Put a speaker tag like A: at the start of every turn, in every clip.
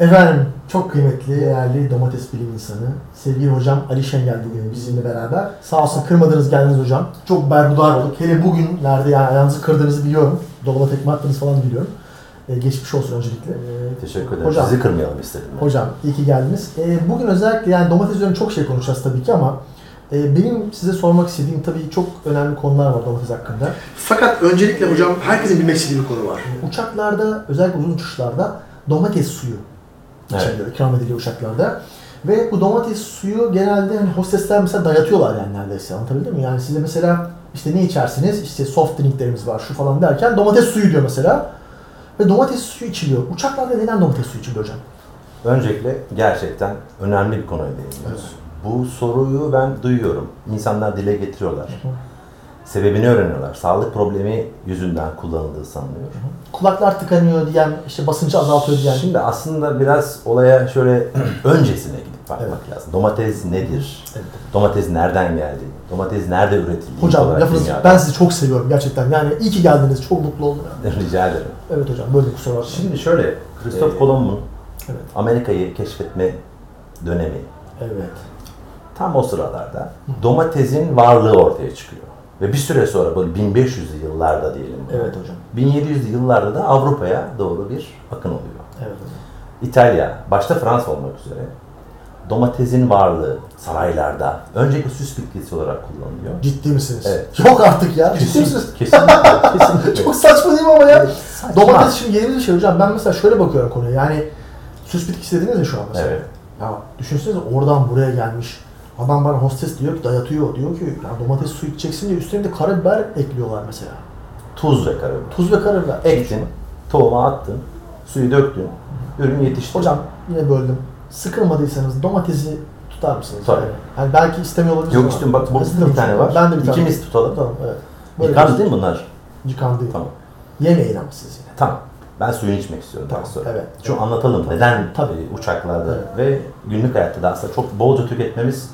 A: Efendim çok kıymetli, değerli domates bilim insanı, sevgili hocam Ali Şengel bugün bizimle beraber. Sağ olsun kırmadınız geldiniz hocam. Çok berhudar olduk. Hele bugünlerde yani ayağınızı kırdığınızı biliyorum. Dolaba tekme attınız falan biliyorum. Ee, geçmiş olsun öncelikle. Ee,
B: E, Teşekkür ederim.
A: Hocam.
B: Sizi kırmayalım istedim. ben.
A: Hocam iyi ki geldiniz. Ee, bugün özellikle yani domates üzerine çok şey konuşacağız tabii ki ama e, benim size sormak istediğim tabii çok önemli konular var domates hakkında.
C: Fakat öncelikle hocam herkesin bilmek istediği bir konu var.
A: Uçaklarda özellikle uzun uçuşlarda domates suyu
B: Evet.
A: içeriyor, ikram ediliyor uçaklarda. Ve bu domates suyu genelde hani hostesler mesela dayatıyorlar yani neredeyse anlatabildim mi? Yani size mesela işte ne içersiniz? İşte soft drinklerimiz var şu falan derken domates suyu diyor mesela. Ve domates suyu içiliyor. Uçaklarda neden domates suyu içiliyor hocam?
B: Öncelikle gerçekten önemli bir konuya değiniyoruz. Bu soruyu ben duyuyorum. İnsanlar dile getiriyorlar. Sebebini öğreniyorlar. Sağlık problemi yüzünden kullanıldığı sanılıyor.
A: Kulaklar tıkanıyor diyen, işte basıncı azaltıyor diyen.
B: Şimdi aslında biraz olaya şöyle öncesine gidip bakmak lazım. Domates nedir?
A: Evet.
B: Domates nereden geldi? Domates nerede üretildi?
A: Hocam
B: İlk olarak
A: lafınız,
B: dünyada.
A: ben sizi çok seviyorum gerçekten. Yani iyi ki geldiniz. Çok mutlu oldum. yani.
B: Rica ederim.
A: Evet hocam böyle kusura bakmayın.
B: Şimdi şöyle, Christoph
A: Ee,
B: Kolomb'un
A: Evet.
B: Amerika'yı keşfetme dönemi
A: Evet.
B: Tam o sıralarda domatesin varlığı ortaya çıkıyor. Ve bir süre sonra böyle 1500'lü yıllarda diyelim. buna,
A: Evet hocam.
B: 1700'lü yıllarda da Avrupa'ya doğru bir akın oluyor.
A: Evet hocam.
B: İtalya, başta Fransa olmak üzere domatesin varlığı saraylarda önceki süs bitkisi olarak kullanılıyor.
A: Ciddi misiniz?
B: Evet.
A: Yok artık ya. Ciddi misiniz?
B: Kesin- Kesinlikle, kesinlikle.
A: Çok saçma değil mi ama ya?
B: Saçma.
A: Domates şimdi yeni bir şey hocam. Ben mesela şöyle bakıyorum konuya. Yani süs bitkisi dediniz ya şu an mesela.
B: Evet.
A: Ya düşünsenize oradan buraya gelmiş. Adam bana hostes diyor ki dayatıyor. Diyor ki ya domates suyu içeceksin diye üstüne bir de karabiber ekliyorlar mesela.
B: Tuz ve karabiber.
A: Tuz ve karabiber.
B: Ektin, tohumu attın, suyu döktün, ürün yetişti.
A: Hocam yine böldüm. Sıkılmadıysanız domatesi tutar mısınız?
B: Tabii.
A: Yani, Yani belki istemiyor olabilirsiniz.
B: Yok
A: ama-
B: işte bak, burada
A: Isıtır
B: bir tane
A: mısınız?
B: var.
A: Ben de bir tane.
B: İkimiz tutalım.
A: Tamam evet. Böyle
B: Yıkandı
A: bir-
B: değil mi bunlar?
A: Yıkandı.
B: Tamam.
A: Yemeyin ama siz yine.
B: Tamam. Ben suyunu içmek istiyorum daha
A: Tamam,
B: sonra.
A: evet.
B: Şu anlatalım neden
A: Tabii.
B: e, uçaklarda
A: Evet.
B: ve günlük hayatta da aslında çok bolca tüketmemiz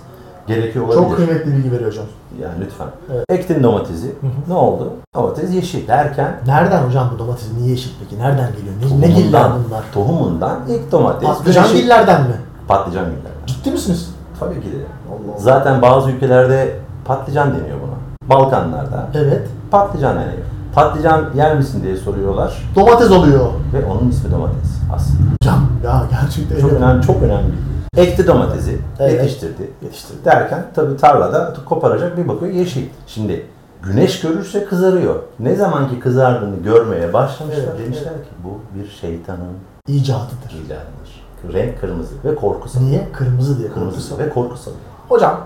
B: gerekiyor olabilir.
A: Çok kıymetli bilgi veriyor hocam.
B: Yani lütfen.
A: Evet.
B: Ektin domatesi. Ne oldu? Domates yeşil derken
A: Nereden hocam bu domates niye yeşil peki? Nereden geliyor? Ne, ne
B: tohumundan-
A: giller bunlar?
B: Tohumundan ilk domates.
A: Patlıcan
B: yeşil-
A: gillerden mi?
B: Patlıcan giller.
A: Ciddi misiniz?
B: Tabii ki de.
A: Allah
B: Zaten bazı ülkelerde patlıcan deniyor buna. Balkanlarda
A: Evet.
B: patlıcan deniyor. Patlıcan yer misin diye soruyorlar
A: Domates oluyor.
B: ve onun ismi domates aslında.
A: Hocam ya gerçekten
B: Çok
A: öyle.
B: önemli, çok önemli. bir- Ekti domatesi,
A: Evet.
B: yetiştirdi.
A: Yetiştirdi.
B: Derken tabii tarlada koparacak bir bakıyor yeşil. Şimdi güneş görürse kızarıyor. Ne zaman ki kızardığını görmeye başlamışlar
A: Evet,
B: demişler ki bu bir şeytanın
A: İcadıdır.
B: icadıdır. Renk kırmızı ve korku salıyor.
A: Niye? Kırmızı diye
B: Kırmızı
A: kırmızı.
B: ve korku salıyor.
A: Hocam.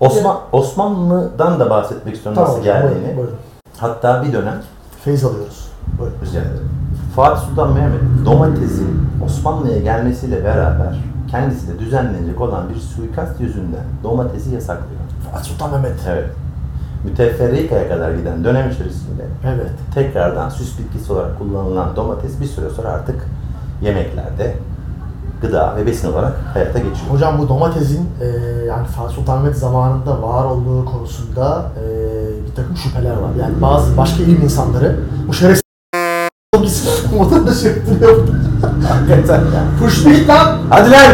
B: Osman, Osmanlı'dan da bahsetmek istiyorum
A: Tamam
B: nasıl
A: hocam.
B: geldiğini.
A: Buyurun, buyurun.
B: Hatta bir dönem
A: Feyz alıyoruz. Buyurun.
B: Rica ederim. Fatih Sultan Mehmet domatesin Osmanlı'ya gelmesiyle beraber kendisine düzenlenecek olan bir suikast yüzünden domatesi yasaklıyor.
A: Fatih Sultan Mehmet.
B: Evet. Müteferrika'ya kadar giden dönem içerisinde
A: Evet.
B: tekrardan süs bitkisi olarak kullanılan domates bir süre sonra artık yemeklerde gıda ve besin olarak hayata geçiyor.
A: Hocam bu domatesin e, yani Fatih Sultan Mehmet zamanında var olduğu konusunda e, bir takım şüpheler var. Yani bazı başka ilim insanları bu şerefsiz bilgisi ortada şöptürüyor.
B: Hakikaten ya.
A: Push değil lan!
B: Hadi lan!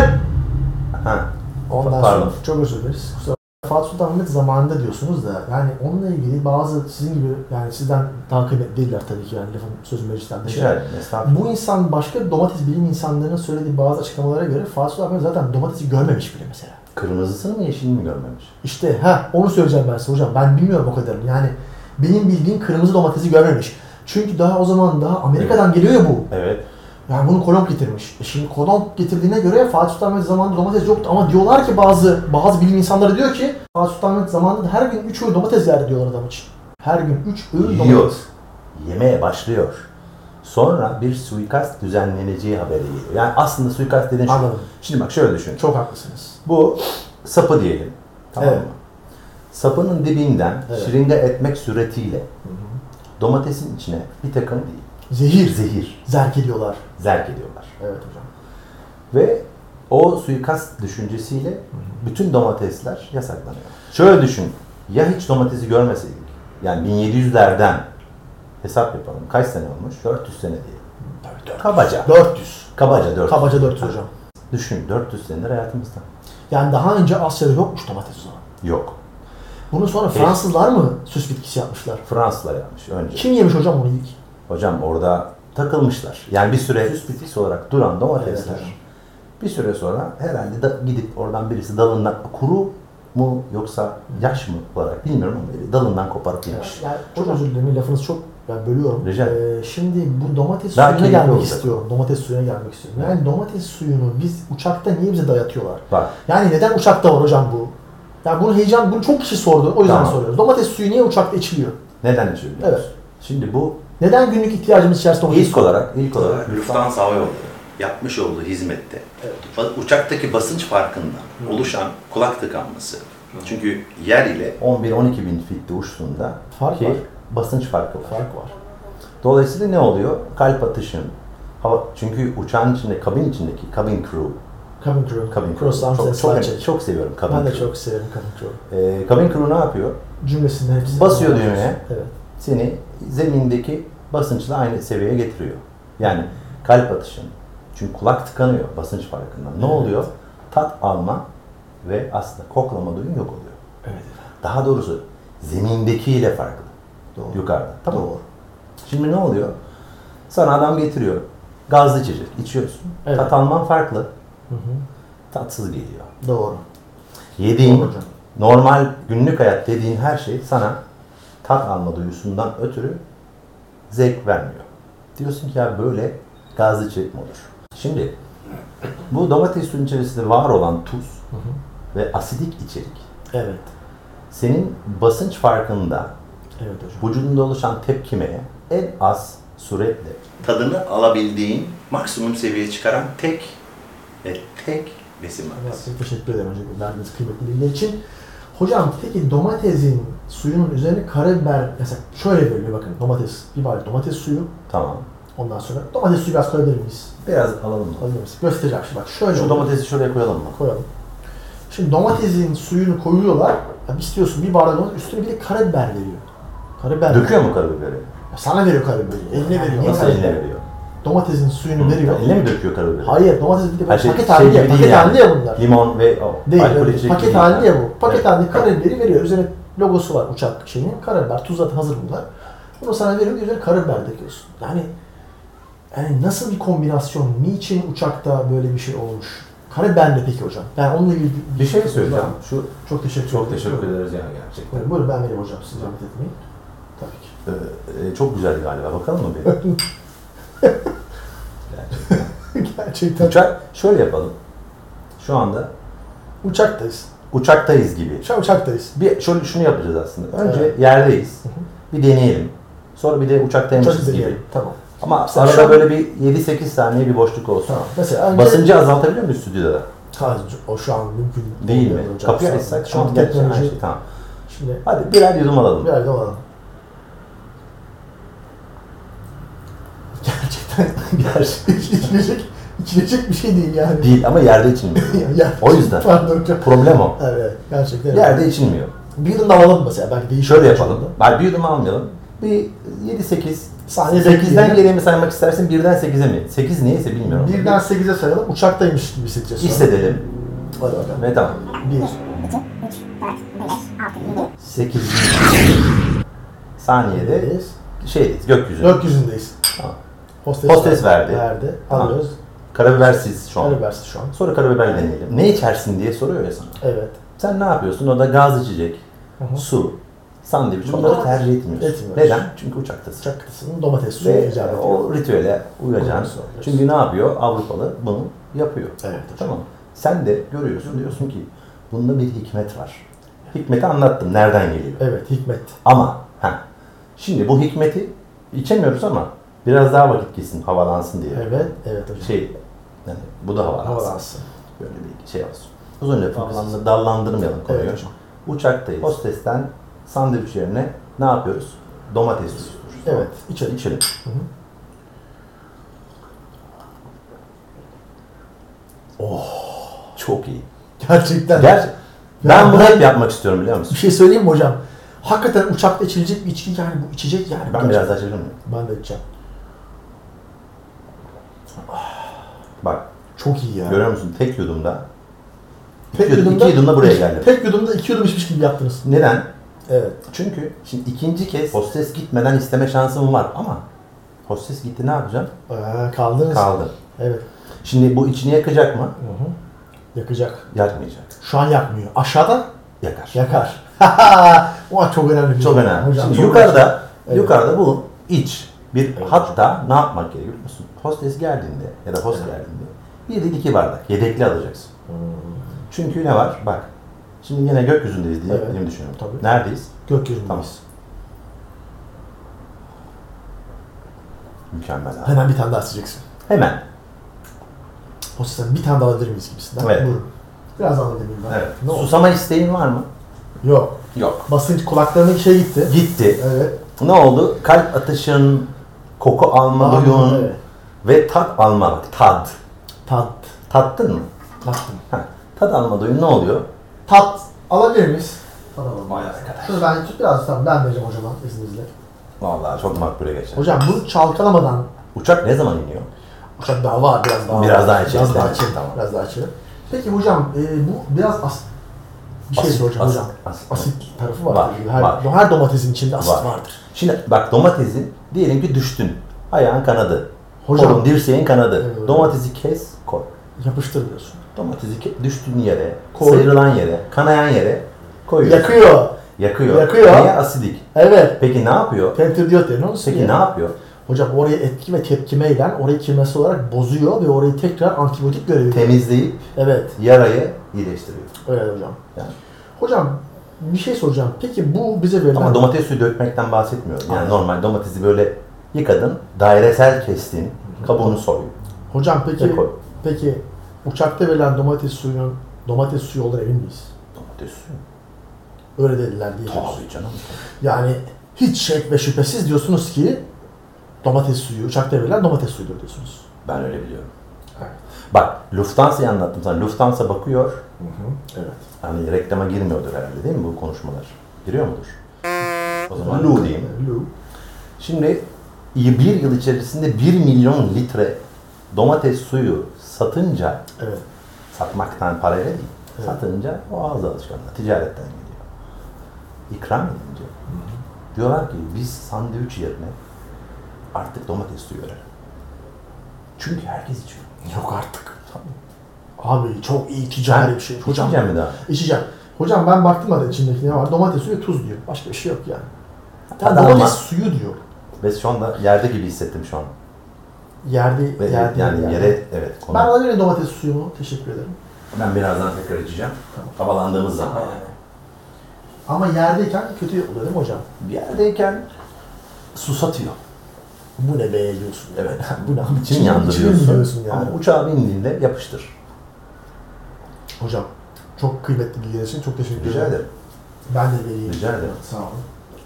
B: Ha.
A: Ondan
B: Pardon.
A: sonra çok özür dileriz. Kusura bakmayın. Fatih Sultan Mehmet zamanında diyorsunuz da yani onunla ilgili bazı sizin gibi yani sizden daha kıymetli değiller tabii ki yani lafın sözü meclisten
B: Rica
A: dışı.
B: ederim. estağfurullah.
A: Bu insan başka domates bilim insanlarının söylediği bazı açıklamalara göre Fatih Sultan Mehmet zaten domatesi görmemiş bile mesela.
B: Kırmızısını mı yeşilini mi görmemiş?
A: İşte ha onu söyleyeceğim ben size hocam. Ben bilmiyorum o kadarını. Yani benim bildiğim kırmızı domatesi görmemiş. Çünkü daha o zaman daha Amerika'dan geliyor ya bu.
B: Evet.
A: Yani bunu Kolomb getirmiş. E şimdi Kolomb getirdiğine göre Fatih Sultan Mehmet zamanında domates yoktu ama diyorlar ki bazı bazı bilim insanları diyor ki Fatih Sultan Mehmet zamanında da her gün 3 öğün domates yerdi diyorlar adam için. Her gün 3 öğün
B: Yiyor.
A: domates.
B: Yemeye başlıyor. Sonra bir suikast düzenleneceği haberi geliyor. Yani aslında suikast dediğin şu.
A: Anladım.
B: Şimdi bak şöyle düşün.
A: Çok haklısınız.
B: Bu sapı diyelim. Tamam
A: Evet.
B: mı? Sapının dibinden
A: Evet.
B: şırınga etmek suretiyle Domatesin içine bir takım değil,
A: Zehir.
B: zehir
A: Zerk ediyorlar.
B: zerk ediyorlar.
A: Evet hocam.
B: Ve o suikast düşüncesiyle bütün domatesler yasaklanıyor. Şöyle düşün, ya hiç domatesi görmeseydik, yani 1700'lerden hesap yapalım, kaç sene olmuş? 400 sene diye. Kabaca.
A: 400.
B: Kabaca 400.
A: Kabaca 400 hocam.
B: Düşün 400 senedir hayatımızda.
A: Yani daha önce Asya'da yokmuş domates o zaman.
B: Yok.
A: Bunu sonra
B: Peki.
A: Fransızlar mı süs bitkisi yapmışlar?
B: Fransızlar yapmış önce.
A: Kim yemiş hocam bunu ilk?
B: Hocam orada takılmışlar. Yani bir süre süs bitkisi olarak duran domatesler.
A: Evet.
B: Bir süre sonra herhalde da gidip oradan birisi dalından kuru mu yoksa yaş mı olarak bilmiyorum ama biri dalından koparıp yemiş.
A: Yani çok özür dilerim lafınızı çok yani bölüyorum.
B: Rica
A: Ee, şimdi bu domates
B: Daha
A: suyuna
B: keyifli
A: gelmek
B: olacak.
A: istiyorum. Domates suyuna gelmek istiyorum. Yani domates suyunu biz uçakta niye bize dayatıyorlar?
B: Bak
A: Yani neden uçakta var hocam bu? Yani bunu heyecan, bunu çok kişi sordu. O yüzden
B: Tamam.
A: soruyoruz. Domates suyu niye uçakta içiliyor?
B: neden içiyor biliyor musun?
A: Evet.
B: Şimdi bu
A: Neden günlük ihtiyacımız içerisinde domates
B: ilk olarak ilk olarak
D: Lufthansa Hava Yolları yapmış olduğu hizmette ba- uçaktaki basınç farkından oluşan kulak tıkanması. Çünkü yer ile
B: 11-12 bin fitte uçtuğunda
A: Fark
B: ki
A: var.
B: basınç farkı var.
A: fark var?
B: Dolayısıyla ne oluyor? Kalp atışın. Hava, çünkü uçağın içinde, kabin içindeki cabin crew.
A: Cabin crew.
B: Cabin crew.
A: Cross arms and
B: çok, çok,
A: slide check.
B: çok seviyorum cabin
A: Ben de
B: crew.
A: çok severim cabin crew.
B: Ee, cabin crew ne yapıyor?
A: Cümlesinden hepsi.
B: Basıyor düğmeye.
A: Evet.
B: Seni zemindeki basınçla aynı seviyeye getiriyor. Yani kalp atışın. Çünkü kulak tıkanıyor basınç farkından. Ne oluyor? Tat alma ve aslında koklama duyun yok oluyor.
A: Evet.
B: Daha doğrusu zemindekiyle farklı. Yukarıda. Tamam.
A: Doğru.
B: Şimdi ne oluyor? Sana adam getiriyor. Gazlı içecek. içiyorsun.
A: Evet.
B: Tat alman farklı.
A: hı.
B: Tatsız geliyor.
A: Doğru.
B: Yediğin,
A: Doğru hocam.
B: normal günlük hayat dediğin her şey sana tat alma duyusundan ötürü zevk vermiyor. Diyorsun ki ya böyle gazlı içecek mi olur? Şimdi bu domates suyunun içerisinde var olan tuz ve asidik içerik
A: Evet.
B: senin basınç farkında
A: Evet hocam.
B: vücudunda oluşan tepkimeye en az süretle
D: tadını alabildiğin maksimum seviyeye çıkaran tek ve tek besin maddesi.
A: Çok teşekkür ederim hocam verdiğiniz kıymetli bilgiler için. Hocam peki domatesin suyunun üzerine karabiber mesela şöyle veriliyor bakın domates bir bardak domates suyu
B: tamam.
A: ondan sonra domates suyu biraz koyabilir miyiz?
B: Biraz alalım. mı?
A: Alabilir miyiz? Göstereceğim şimdi bak şöyle
B: Şu
A: oluyor.
B: domatesi şuraya koyalım mı?
A: koyalım. Şimdi domatesin suyunu koyuyorlar. Ya istiyorsun bir bardak domates üstüne bir de karabiber veriyor. Karabiber.
B: Döküyor mu karabiberi?
A: Ya Sana veriyor karabiberi. Eline veriyor.
B: Nasıl
A: Karabiber.
B: eline veriyor?
A: Domatesin suyunu veriyor.
B: Eline mi döküyor karabiberi?
A: Hayır domates bir de
B: Her
A: böyle
B: şey
A: paket
B: şey
A: halinde,
B: gibi
A: paket
B: değil yani.
A: halinde ya bunlar.
B: Limon ve o,
A: Değil,
B: alkol
A: öyle değil.
B: içecek
A: paket
B: gibi
A: halinde
B: değil.
A: ya bu. Paket
B: Evet.
A: halinde karabiberi veriyor. Üzerine logosu var uçak şeyinin. Karabiber, tuz zaten hazır bunlar. Bunu sana veriyor, üzerine karabiber döküyorsun. Yani, yani nasıl bir kombinasyon, niçin uçakta böyle bir şey olmuş? Karabiber de peki hocam? Yani onunla ilgili
B: Bir şey söyleyeceğim. Şu
A: Çok teşekkür
B: çok
A: ederim.
B: teşekkür ederiz yani gerçekten.
A: Buyurun, buyurun ben vereyim hocam, siz zahmet etmeyin. Tabii ki.
B: Ee, e, çok güzel galiba. Bakalım mı bir?
A: Gerçekten
B: Uçak şöyle yapalım. Şu anda
A: uçaktayız.
B: uçaktayız gibi.
A: Şu an uçaktayız.
B: Bir şöyle şunu yapacağız aslında. Önce
A: Evet.
B: yerdeyiz. Bir deneyelim. Sonra bir de uçaktaymışız
A: Uçaktayız.
B: gibi.
A: Tamam.
B: Ama
A: Mesela şu an-
B: arada böyle bir 7-8 saniye bir boşluk olsun.
A: Tamam. Mesela önce...
B: Basıncı azaltabiliyor muyuz stüdyoda? da?
A: Hayır, o şu an mümkün
B: Değil mi?
A: olmuyor hocam.
B: Kapıyı açsak şu an gerçekten her
A: teknoloji...
B: şey tamam.
A: Şimdi
B: Hadi birer yudum alalım.
A: bir yerde olalım. Gerçekten gerçek, içilecek, içilecek bir şey değil yani.
B: Değil ama yerde içilmiyor.
A: Ya,
B: o yüzden.
A: Pardon hocam.
B: Problem o.
A: Evet, gerçekten.
B: Yerde içilmiyor.
A: Bir yudum daha alalım mesela. Belki değişir.
B: Şöyle yapalım. Hayır bir şey. yudum almayalım. Bir 7-8.
A: Saniye
B: 8'den
A: bekleyelim.
B: geriye mi saymak istersin? 1'den 8'e mi? 8 neyse bilmiyorum.
A: Birden 8'e sayalım. Uçaktaymış gibi hissedeceğiz. sonra.
B: hissedelim.
A: Hadi bakalım.
B: Ve tamam.
A: 1.
B: 8. saniyede şeydeyiz gökyüzü.
A: Gökyüzündeyiz.
B: Tamam.
A: Hostes,
B: Hostes verdi.
A: Verdi.
B: Tamam.
A: Alıyoruz.
B: Karabibersiz şu an.
A: Karabibersiz şu an.
B: Sonra karabiber deneyelim. Ne içersin diye soruyor ya sana.
A: Evet.
B: Sen ne yapıyorsun? O da gaz içecek,
A: Hı hı.
B: su, sandviç
A: Bunları
B: bunları tercih etmiyorsun.
A: etmiyoruz.
B: Neden? Çünkü uçaktasın.
A: Uçak kıtasının domates suyu
B: Ve
A: icap ediyor.
B: o ritüele uyacaksın.
A: Uyuyorsun, uyuyorsun.
B: Çünkü ne yapıyor? Avrupalı bunu yapıyor.
A: Evet hocam.
B: Tamam. Sen de görüyorsun diyorsun ki bunda bir hikmet var. Hikmeti anlattım. Nereden geliyor?
A: Evet hikmet.
B: Ama ha. Şimdi bu hikmeti içemiyoruz ama biraz daha vakit geçsin, havalansın diye.
A: Evet. Evet hocam.
B: Şey yani bu da havalansın.
A: Havalansın.
B: Böyle bir şey olsun. Uzun lafı dallandı- dallandırmayalım konuyu.
A: Evet hocam.
B: Uçaktayız. Hostesten sandviç yerine ne yapıyoruz? Domates yiyoruz.
A: Evet, içelim.
B: İçelim. Oh, çok iyi.
A: Gerçekten.
B: Ger ben bunu hep yapmak istiyorum biliyor
A: Bir
B: musun?
A: şey söyleyeyim mi hocam? Hakikaten uçakta içilecek bir içki yani bu içecek yani.
B: Ben biraz daha çevirir miyim?
A: Ben de içeceğim.
B: Bak,
A: Çok iyi ya.
B: görüyor musun? Tek yudumda.
A: Tek
B: İki yudumda buraya geldim.
A: Tek yudumda iki yudum içmiş gibi yaptınız.
B: Neden?
A: Evet.
B: Çünkü şimdi ikinci kez hostes gitmeden isteme şansım var ama hostes gitti ne yapacağım?
A: Ee, kaldınız.
B: Kaldı.
A: Evet.
B: Şimdi bu içini yakacak mı?
A: Yakacak.
B: Yakmayacak.
A: Şu an yakmıyor. Aşağıda
B: Yakar.
A: yakar. o çok önemli. bir
B: Çok
A: şey.
B: önemli.
A: Hocam,
B: Şimdi
A: çok önemli.
B: yukarıda,
A: Evet.
B: yukarıda bu iç. Bir hatta ne yapmak gerekiyor biliyor musun? Hostes geldiğinde ya da host geldiğinde bir değil iki bardak yedekli alacaksın.
A: Hmm.
B: Çünkü ne var? Bak. Şimdi yine gökyüzündeyiz diye
A: Evet.
B: benim düşünüyorum.
A: Tabii.
B: Neredeyiz?
A: Gökyüzündeyiz.
B: Tamam. Mükemmel abi.
A: Hemen bir tane daha sıcaksın.
B: Hemen.
A: O sistem bir tane daha alabilir miyiz gibisinden.
B: Evet.
A: Buyurun. Biraz alabilir miyim ben?
B: Evet.
A: Ne oldu?
B: Susama isteğin var mı?
A: Yok.
B: Yok.
A: Basınç kulaklarındaki şey gitti.
B: Gitti.
A: Evet.
B: Ne oldu? Kalp atışın, koku alma
A: Alma,
B: duyun
A: evet.
B: ve tat alma. bak, Tad.
A: Tat.
B: Tattın mı?
A: Tattım.
B: Heh. Tad alma duyun ne oluyor?
A: Tat alabilir miyiz? Tat alalım.
B: Vay arkadaş.
A: Şunu ben tut biraz tamam ben vereceğim hocama izninizle.
B: Vallahi çok makbule geçer.
A: Hocam bunu çalkalamadan
B: Uçak ne zaman iniyor?
A: Uçak daha var biraz daha.
B: Biraz
A: var.
B: daha içelim,
A: Biraz daha
B: tamam.
A: içelim.
B: Tamam.
A: Biraz daha içelim. Peki hocam e, bu biraz as bir şey
B: Asit,
A: soracağım
B: asit,
A: hocam.
B: asit.
A: Asit, tarafı var.
B: Var,
A: tabii. her,
B: var.
A: her domatesin içinde asit
B: Var.
A: vardır.
B: Şimdi bak domatesin diyelim ki düştün. Ayağın kanadı.
A: Hocam.
B: Kolun dirseğin kanadı.
A: Evet.
B: Domatesi kes, koy.
A: Yapıştırmıyorsun.
B: Domatesi ke- düştüğün yere,
A: Koy.
B: sıyrılan yere, kanayan yere koyuyorsun.
A: Yakıyor.
B: Yakıyor.
A: Yakıyor.
B: Niye asidik?
A: Evet.
B: Peki ne yapıyor?
A: Temptir diyor diye ne olursa
B: Peki
A: diye.
B: ne yapıyor?
A: Hocam oraya etki ve tepkimeyle orayı kirmesi olarak bozuyor ve orayı tekrar antibiyotik görevi.
B: Temizleyip
A: evet.
B: yarayı iyileştiriyor.
A: Öyle hocam.
B: Yani.
A: Hocam bir şey soracağım. Peki bu bize verilen...
B: Ama domates suyu dökmekten bahsetmiyorum. Yani
A: Aynen.
B: normal domatesi böyle yıkadın, dairesel kestin, kabuğunu soy.
A: Hocam peki,
B: Dekor.
A: peki uçakta verilen domates suyunun domates suyu olduğuna emin miyiz?
B: Domates suyu.
A: Öyle dediler diye.
B: Tabii canım.
A: Yani hiç şek ve şüphesiz diyorsunuz ki domates suyu, uçakta verilen domates suyudur diyorsunuz.
B: Ben öyle biliyorum. Bak Lufthansa'yı anlattım sana. Lufthansa bakıyor.
A: Evet.
B: Hani reklama girmiyordur herhalde değil mi bu konuşmalar? Giriyor mudur? O zaman Lu diyeyim.
A: Lu.
B: Şimdi bir yıl içerisinde 1 milyon litre domates suyu satınca
A: Evet.
B: satmaktan parayla değil. Satınca o ağız alışkanlığı. Ticaretten geliyor. İkram edince diyorlar ki biz sandviç yerine artık domates suyu verelim. Çünkü herkes içiyor.
A: Yok artık. Abi çok iyi
B: Ben
A: ticari bir şey. Hocam,
B: içmeyeceğim mi daha?
A: içeceğim. Hocam ben baktım da içindeki ne var? Domates suyu ve tuz diyor. Başka bir şey yok yani. Ya
B: Tadı
A: domates
B: ama-
A: suyu diyor.
B: Ve şu anda yerde gibi hissettim şu an.
A: Yerde,
B: Ve
A: yerde
B: yani yere evet konu.
A: Ben
B: Ben,
A: alabilirim domates suyumu. Teşekkür ederim.
B: birazdan tekrar içeceğim. Havalandığımız zaman.
A: Ama yerdeyken kötü oluyor değil mi hocam?
B: Bir yerdeyken su satıyor.
A: Bu ne be diyorsun.
B: Evet.
A: Bu ne abi?
B: İçini
A: içini
B: yandırıyorsun.
A: biliyorsun yani.
B: Ama uçağa bindiğinde yapıştır.
A: Hocam çok kıymetli bilgiler için çok teşekkür ederim.
B: Rica ederim.
A: Ben de vereyim.
B: Rica ederim.
A: Sağ olun.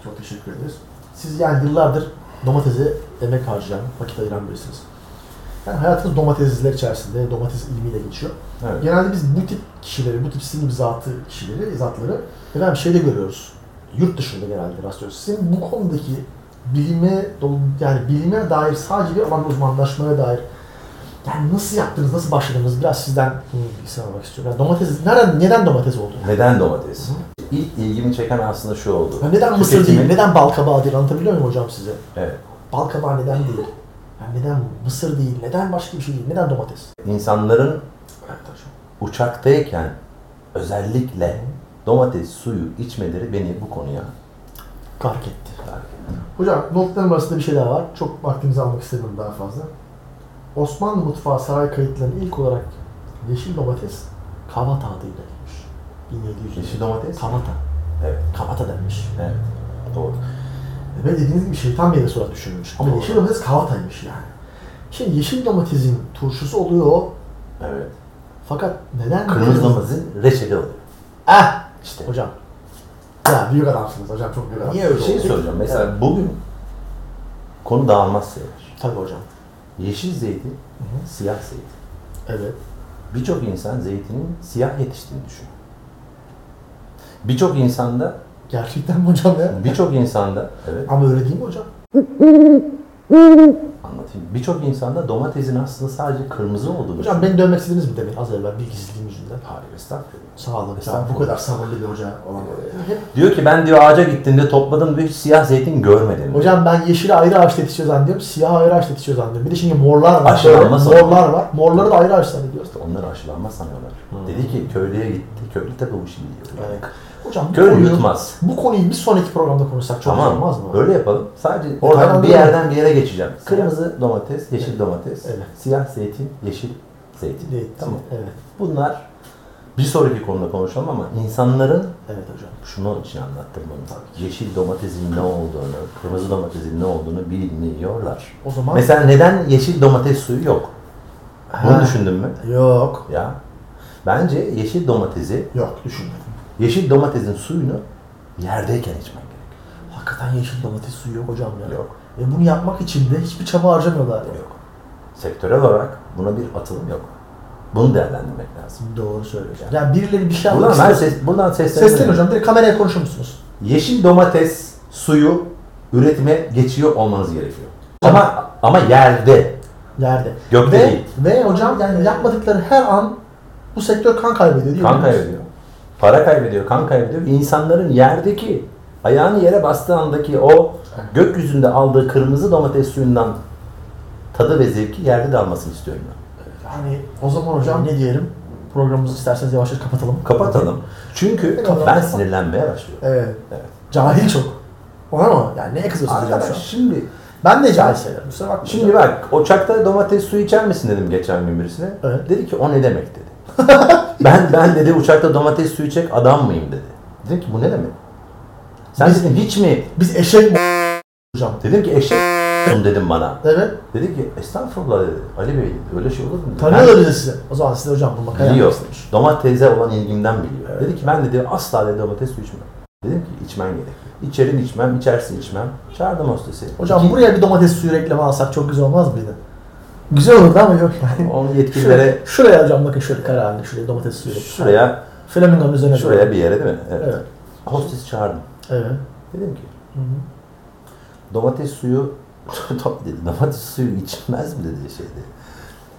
A: Çok teşekkür ederiz. Siz yani yıllardır domatese emek harcayan, vakit ayıran birisiniz. Yani hayatınız domatesler içerisinde, domates ilmiyle geçiyor.
B: Evet.
A: Genelde biz bu tip kişileri, bu tip sizin zatı kişileri, zatları efendim şeyde görüyoruz. Yurt dışında genelde rastlıyoruz. Sizin bu konudaki bilime dolu- yani bilime dair sadece bir alan uzmanlaşmaya dair yani nasıl yaptınız, nasıl başladınız? Biraz sizden bunu bilgisini almak istiyorum. Yani domates, nereden, neden domates oldu?
B: Neden domates? İlk ilgimi çeken aslında şu oldu.
A: Ya neden mısır değil,
B: Tüketimin-
A: neden bal kabağı değil anlatabiliyor muyum hocam size?
B: Evet.
A: Bal kabağı neden değil? Yani neden mısır değil, neden başka bir şey değil, neden domates?
B: İnsanların
A: Evet hocam.
B: uçaktayken özellikle domates suyu içmeleri beni bu konuya
A: Fark etti.
B: tahrik etti.
A: Hocam notlarım arasında bir şey daha var. Çok vaktinizi almak istemiyorum daha fazla. Osmanlı mutfağı saray kayıtlarının ilk olarak yeşil domates kavata adıyla gelmiş. 1700
B: Yeşil domates?
A: Kavata.
B: Evet.
A: Kavata denmiş.
B: Evet. Doğru.
A: Ve dediğiniz gibi şeytan meyvesi olarak düşünülmüş. Ama
B: Doğru.
A: yeşil domates kavataymış yani. Şimdi yeşil domatesin turşusu oluyor
B: Evet.
A: fakat neden?
B: Kırmızı domatesin reçeli oluyor.
A: Ah!
B: İşte.
A: Hocam. Ya büyük adamsınız Şey hocam çok büyük adam.
B: Niye öyle şey soracağım. Mesela bugün Konu dağılmaz şeyler.
A: Tabii hocam.
B: Yeşil zeytin, siyah zeytin.
A: Evet.
B: Birçok insan zeytinin siyah yetiştiğini düşünüyor. Birçok insanda,
A: Gerçekten mi hocam ya?
B: birçok insanda, evet
A: Ama öyle değil mi hocam?
B: anlatayım. Birçok insanda domatesin aslında sadece kırmızı olduğunu
A: Hocam beni dövmek istediniz mi demin az evvel bilgisizliğim yüzünden?
B: Hayır estağfurullah.
A: Sağ olun. Sen bu
B: Estağfurullah.
A: kadar sabırlı bir hoca olan oraya.
B: Diyor ki ben diyor ağaca gittiğimde topladım diyor hiç siyah zeytin görmedim. diyor.
A: Hocam ben yeşili ayrı ağaçta yetişiyor zannediyorum. Siyah ayrı ağaçta yetişiyor zannediyorum. Bir de şimdi morlar var.
B: Aşağıda
A: Şöyle
B: masa.
A: morlar var. Morları da ayrı ağaç zannediyoruz.
B: Onları aşılanma sanıyorlar. Dedi ki köylüye gitti. Köylü tabii bu işi biliyor.
A: Evet. Hocam bu
B: Köylü
A: konuyu,
B: yutmaz.
A: bu konuyu bir sonraki programda konuşsak çok
B: Tamam.
A: iyi olmaz mı?
B: Öyle yapalım. Sadece
A: Oradan
B: Tamam, bir
A: değil mi?
B: yerden bir yere geçeceğim. Kırmızı domates, yeşil domates,
A: Evet.
B: siyah zeytin, yeşil zeytin.
A: Değil,
B: Tamam.
A: Evet.
B: Bunlar bir sonraki konuda konuşalım ama insanların
A: Evet hocam.
B: şunun için anlattım bunu. Yeşil domatesin ne olduğunu, kırmızı domatesin ne olduğunu bilmiyorlar.
A: O zaman
B: Mesela neden yeşil domates suyu yok? Bunu
A: Ha.
B: düşündün mü?
A: yok.
B: Ya. Bence yeşil domatesi,
A: Yok düşünmedim.
B: yeşil domatesin suyunu yerdeyken içmen gerek.
A: Hakikaten yeşil domates suyu yok hocam ya.
B: Yok.
A: E bunu yapmak için de hiçbir çaba harcamıyorlar. ya.
B: Yok. Sektörel olarak buna bir atılım yok. Bunu değerlendirmek lazım.
A: Doğru söylüyorsun. Yani birileri bir şey
B: Buradan,
A: yapmak
B: ben
A: istiyor.
B: ses, buradan sesleniyorum.
A: Seslenin hocam. Direkt kameraya konuşur musunuz?
B: Yeşil domates suyu üretime geçiyor olmanız gerekiyor. Ama ama yerde.
A: Yerde.
B: Gökte
A: ve,
B: değil.
A: Ve hocam yani yapmadıkları her an bu sektör kan kaybediyor değil mi?
B: Kan kaybediyor. Para kaybediyor, kan kaybediyor. İnsanların yerdeki, ayağını yere bastığı andaki o gökyüzünde aldığı kırmızı domates suyundan tadı ve zevki yerde de almasını istiyorum ben.
A: Yani o zaman hocam ne diyelim? Programımızı isterseniz yavaş yavaş kapatalım.
B: Kapatalım. Çünkü
A: Kapatalım.
B: ben sinirlenmeye başlıyorum.
A: Evet.
B: Evet.
A: Cahil çok. Ona mı? Yani neye kızıyorsunuz hocam şu
B: Arkadaş
A: an?
B: şimdi
A: Ben de cahil sayılırım. Kusura bakmayın.
B: Şimdi bak Oçak'ta domates suyu içer misin dedim geçen gün birisine.
A: Evet.
B: Dedi ki o ne demek dedi. ben ben dedi uçakta domates suyu içecek adam mıyım dedi. Dedim ki bu ne demek? Sen
A: Biz-
B: dedim hiç mi?
A: Biz eşek mi- hocam.
B: Dedim ki eşek dedim bana.
A: Evet.
B: Dedi ki estağfurullah dedi. Ali Bey dedi, öyle şey olur mu? dedi.
A: Tanıyorlar bizi sizi. O zaman size hocam bu makara
B: Ben-
A: yapmak
B: biliyor.
A: istemiş.
B: Domatese olan ilgimden biliyor. Dedi ki ben dedi asla dedi domates suyu içmem. Dedim ki içmen gerek. İçerim içmem, içersin içmem. Çağırdım hostesi.
A: Hocam
B: İki-
A: buraya bir domates suyu reklamı alsak çok güzel olmaz mıydı? Güzel olurdu ama yok yani.
B: Onu
A: Şuraya,
B: yetkililere
A: şuraya hocam bakın şöyle kararlı şuraya domates suyu.
B: şuraya
A: Flamingonun üzerine
B: Şuraya
A: koyalım.
B: bir yere değil mi? Evet.
A: Şey- Evet.
B: Hostes çağırdım.
A: Evet.
B: Dedim ki domates suyu Top dedi. Domates suyu içilmez mi dedi şeyde.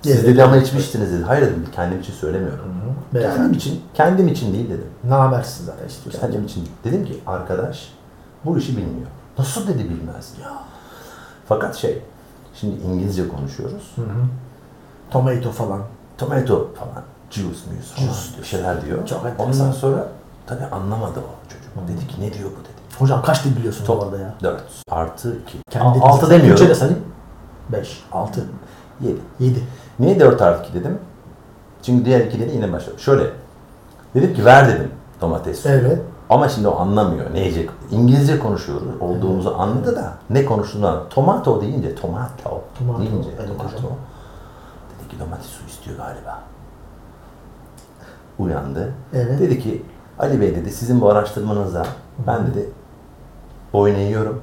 B: Siz
A: Evet.
B: dedi ama içmiştiniz dedi. Hayır dedim kendim için söylemiyorum. Kendim
A: Beyefendi.
B: için, kendim için değil dedim.
A: Ne habersiz zaten Hani istiyorsan.
B: Kendim için. değil. Dedim ki arkadaş bu işi bilmiyor. Nasıl dedi bilmez ya. Fakat şey şimdi İngilizce konuşuyoruz.
A: Tomato falan.
B: Tomato falan, juice, muse falan bir şeyler diyor.
A: Çok enteresan.
B: Ondan sonra tabii anlamadı o çocuk. Dedi ki ne diyor bu dedi.
A: Hocam kaç dil biliyorsun bu arada ya?
B: 4 artı 2.
A: Kendi
B: 6 demiyorum.
A: Türkçe de sayayım. 5, 6,
B: 7.
A: 7.
B: Niye 4 artı 2 dedim? Çünkü diğer ikileri yine başladı. Şöyle. Dedim ki ver dedim domates suyu.
A: Evet.
B: Ama şimdi o anlamıyor ne yiyecek. İngilizce konuşuyoruz olduğumuzu anladı da ne konuştuğunu anladı. Tomato deyince tomato,
A: Tomato,
B: deyince
A: evet
B: tomato.
A: hocam.
B: Dedi ki domates suyu istiyor galiba. Uyandı.
A: Evet.
B: Dedi ki Ali Bey dedi sizin bu araştırmanıza ben dedi boyun eğiyorum.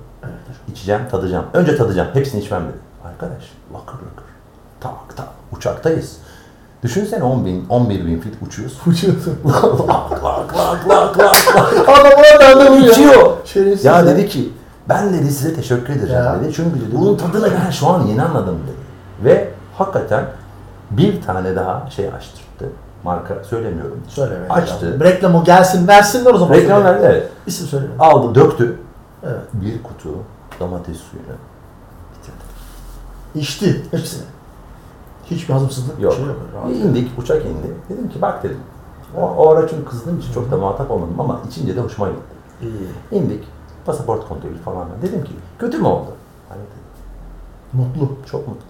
B: İçeceğim, tadacağım. Önce tadacağım. Hepsini içmem dedi. Arkadaş lakır lakır. Tak tak. Uçaktayız. Düşünsene 10 bin, 11 bin fit uçuyoruz.
A: Uçuyorsun.
B: lak lak lak lak lak lak.
A: Adam buna bende vuruyor.
B: Uçuyor.
A: Şerefsiz
B: ya dedi ki ben dedi size teşekkür edeceğim
A: Ya.
B: dedi. Çünkü dedi bunun tadını ben şu an yeni anladım dedi. Ve hakikaten bir tane daha şey açtırdı. Marka söylemiyorum.
A: Söyle be.
B: Açtı.
A: Hocam. Reklam o gelsin versinler o zaman.
B: Reklam verdi evet.
A: İsim söyle.
B: Aldı döktü.
A: Evet.
B: Bir kutu domates suyunu bitirdi.
A: İçti hepsini. Hiçbir hazımsızlık bir
B: Yok.
A: şey yok. Rahat.
B: İndik, uçak indi. Dedim ki bak dedim. O, o ara çünkü kızdığım için çok da muhatap olmadım ama içince de hoşuma gitti.
A: İyi.
B: İndik, pasaport kontrolü falan. Dedim ki kötü mü oldu? Hayır dedi.
A: Mutlu.
B: Çok mutlu.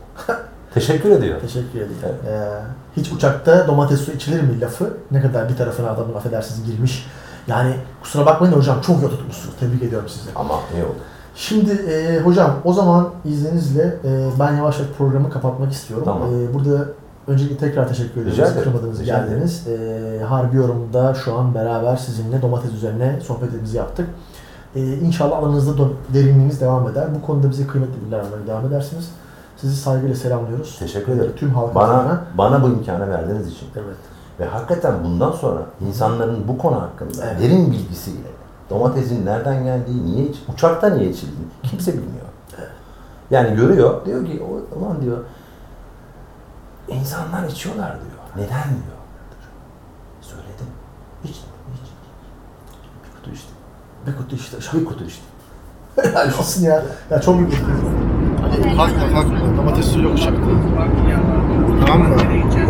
B: Teşekkür ediyor.
A: Teşekkür ederim.
B: Evet.
A: Ee, hiç uçakta domates suyu içilir mi lafı ne kadar bir tarafına adamın affedersiniz girmiş. Yani kusura bakmayın da hocam çok yol tutmuşsunuz. Tebrik ediyorum sizi.
B: Ama iyi oldu.
A: Şimdi e, hocam o zaman izninizle e, ben yavaş yavaş programı kapatmak istiyorum.
B: Tamam.
A: E, burada öncelikle tekrar teşekkür
B: Rica
A: ediyoruz.
B: ederim.
A: Kırmadınız,
B: Rica
A: geldiniz. E, Harbi Yorum'da şu an beraber sizinle domates üzerine sohbetimizi yaptık. Ee, inşallah alanınızda dön- derinliğiniz devam eder. Bu konuda bize kıymetli bilgiler vermeye devam edersiniz. Sizi saygıyla selamlıyoruz. E,
B: Teşekkür ederim.
A: Tüm halkımıza.
B: Bana, bana bu imkanı verdiğiniz için.
A: Evet.
B: Ve hakikaten bundan sonra insanların bu konu hakkında
A: Evet.
B: derin bilgisiyle domatesin nereden geldiği, niye iç, uçakta niye içildiğini kimse bilmiyor. Yani görüyor, diyor ki "O- ulan diyor insanlar içiyorlar diyor. Neden diyor. Söyledim. Hiç, hiç. Bir kutu içtim. Bir kutu içtim. Bir kutu içtim.
A: Helal olsun ya. Ya çok büyük.
C: Hakla hakla. Domates suyu yok uçakta. Tamam mı?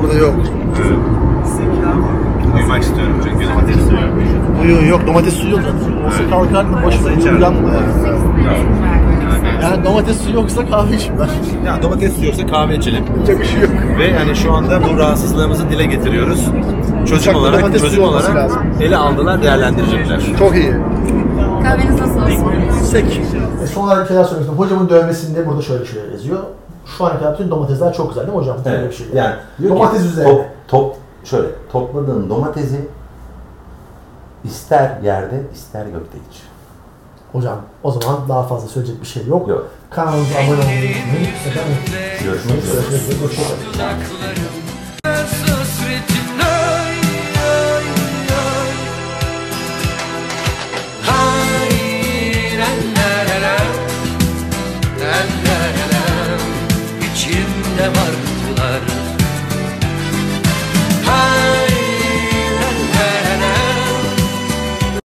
C: Burada yok.
E: Duymak istiyorum çünkü domates suyu.
C: Yok yok domates suyu yok. Olsa kahve kalkma boşuna yanma yani. Yani domates suyu yoksa kahve içmem.
E: Ya domates suyu yoksa kahve içelim.
C: Yapacak bir şey yok.
E: Ve yani şu anda bu rahatsızlığımızı dile getiriyoruz. Çözüm
C: Uçakta
E: olarak,
C: domates
E: çözüm
C: suyu olması
E: olarak
C: lazım.
E: ele aldılar, değerlendirecekler.
C: Çok iyi.
F: Kahveniz nasıl olsun?
C: Sek.
A: E, son olarak bir şeyler söylemek istiyorum. Hocamın dövmesinde burada şöyle şeyler yazıyor. Şu ana kadar bütün domatesler çok güzel değil mi hocam? Böyle bir şey.
B: Yani diyor ki,
A: domates üzerine.
B: Top, top, şöyle topladığın domatesi ister yerde ister gökte iç.
A: Hocam o zaman daha fazla söyleyecek bir şey yok.
B: Yok.
A: Kanalımıza abone olmayı unutmayın. Efendim,
B: Görüşmek üzere.
A: görüşmek üzere. Hoşçakalın.
G: dudaklarım Söz hasretinden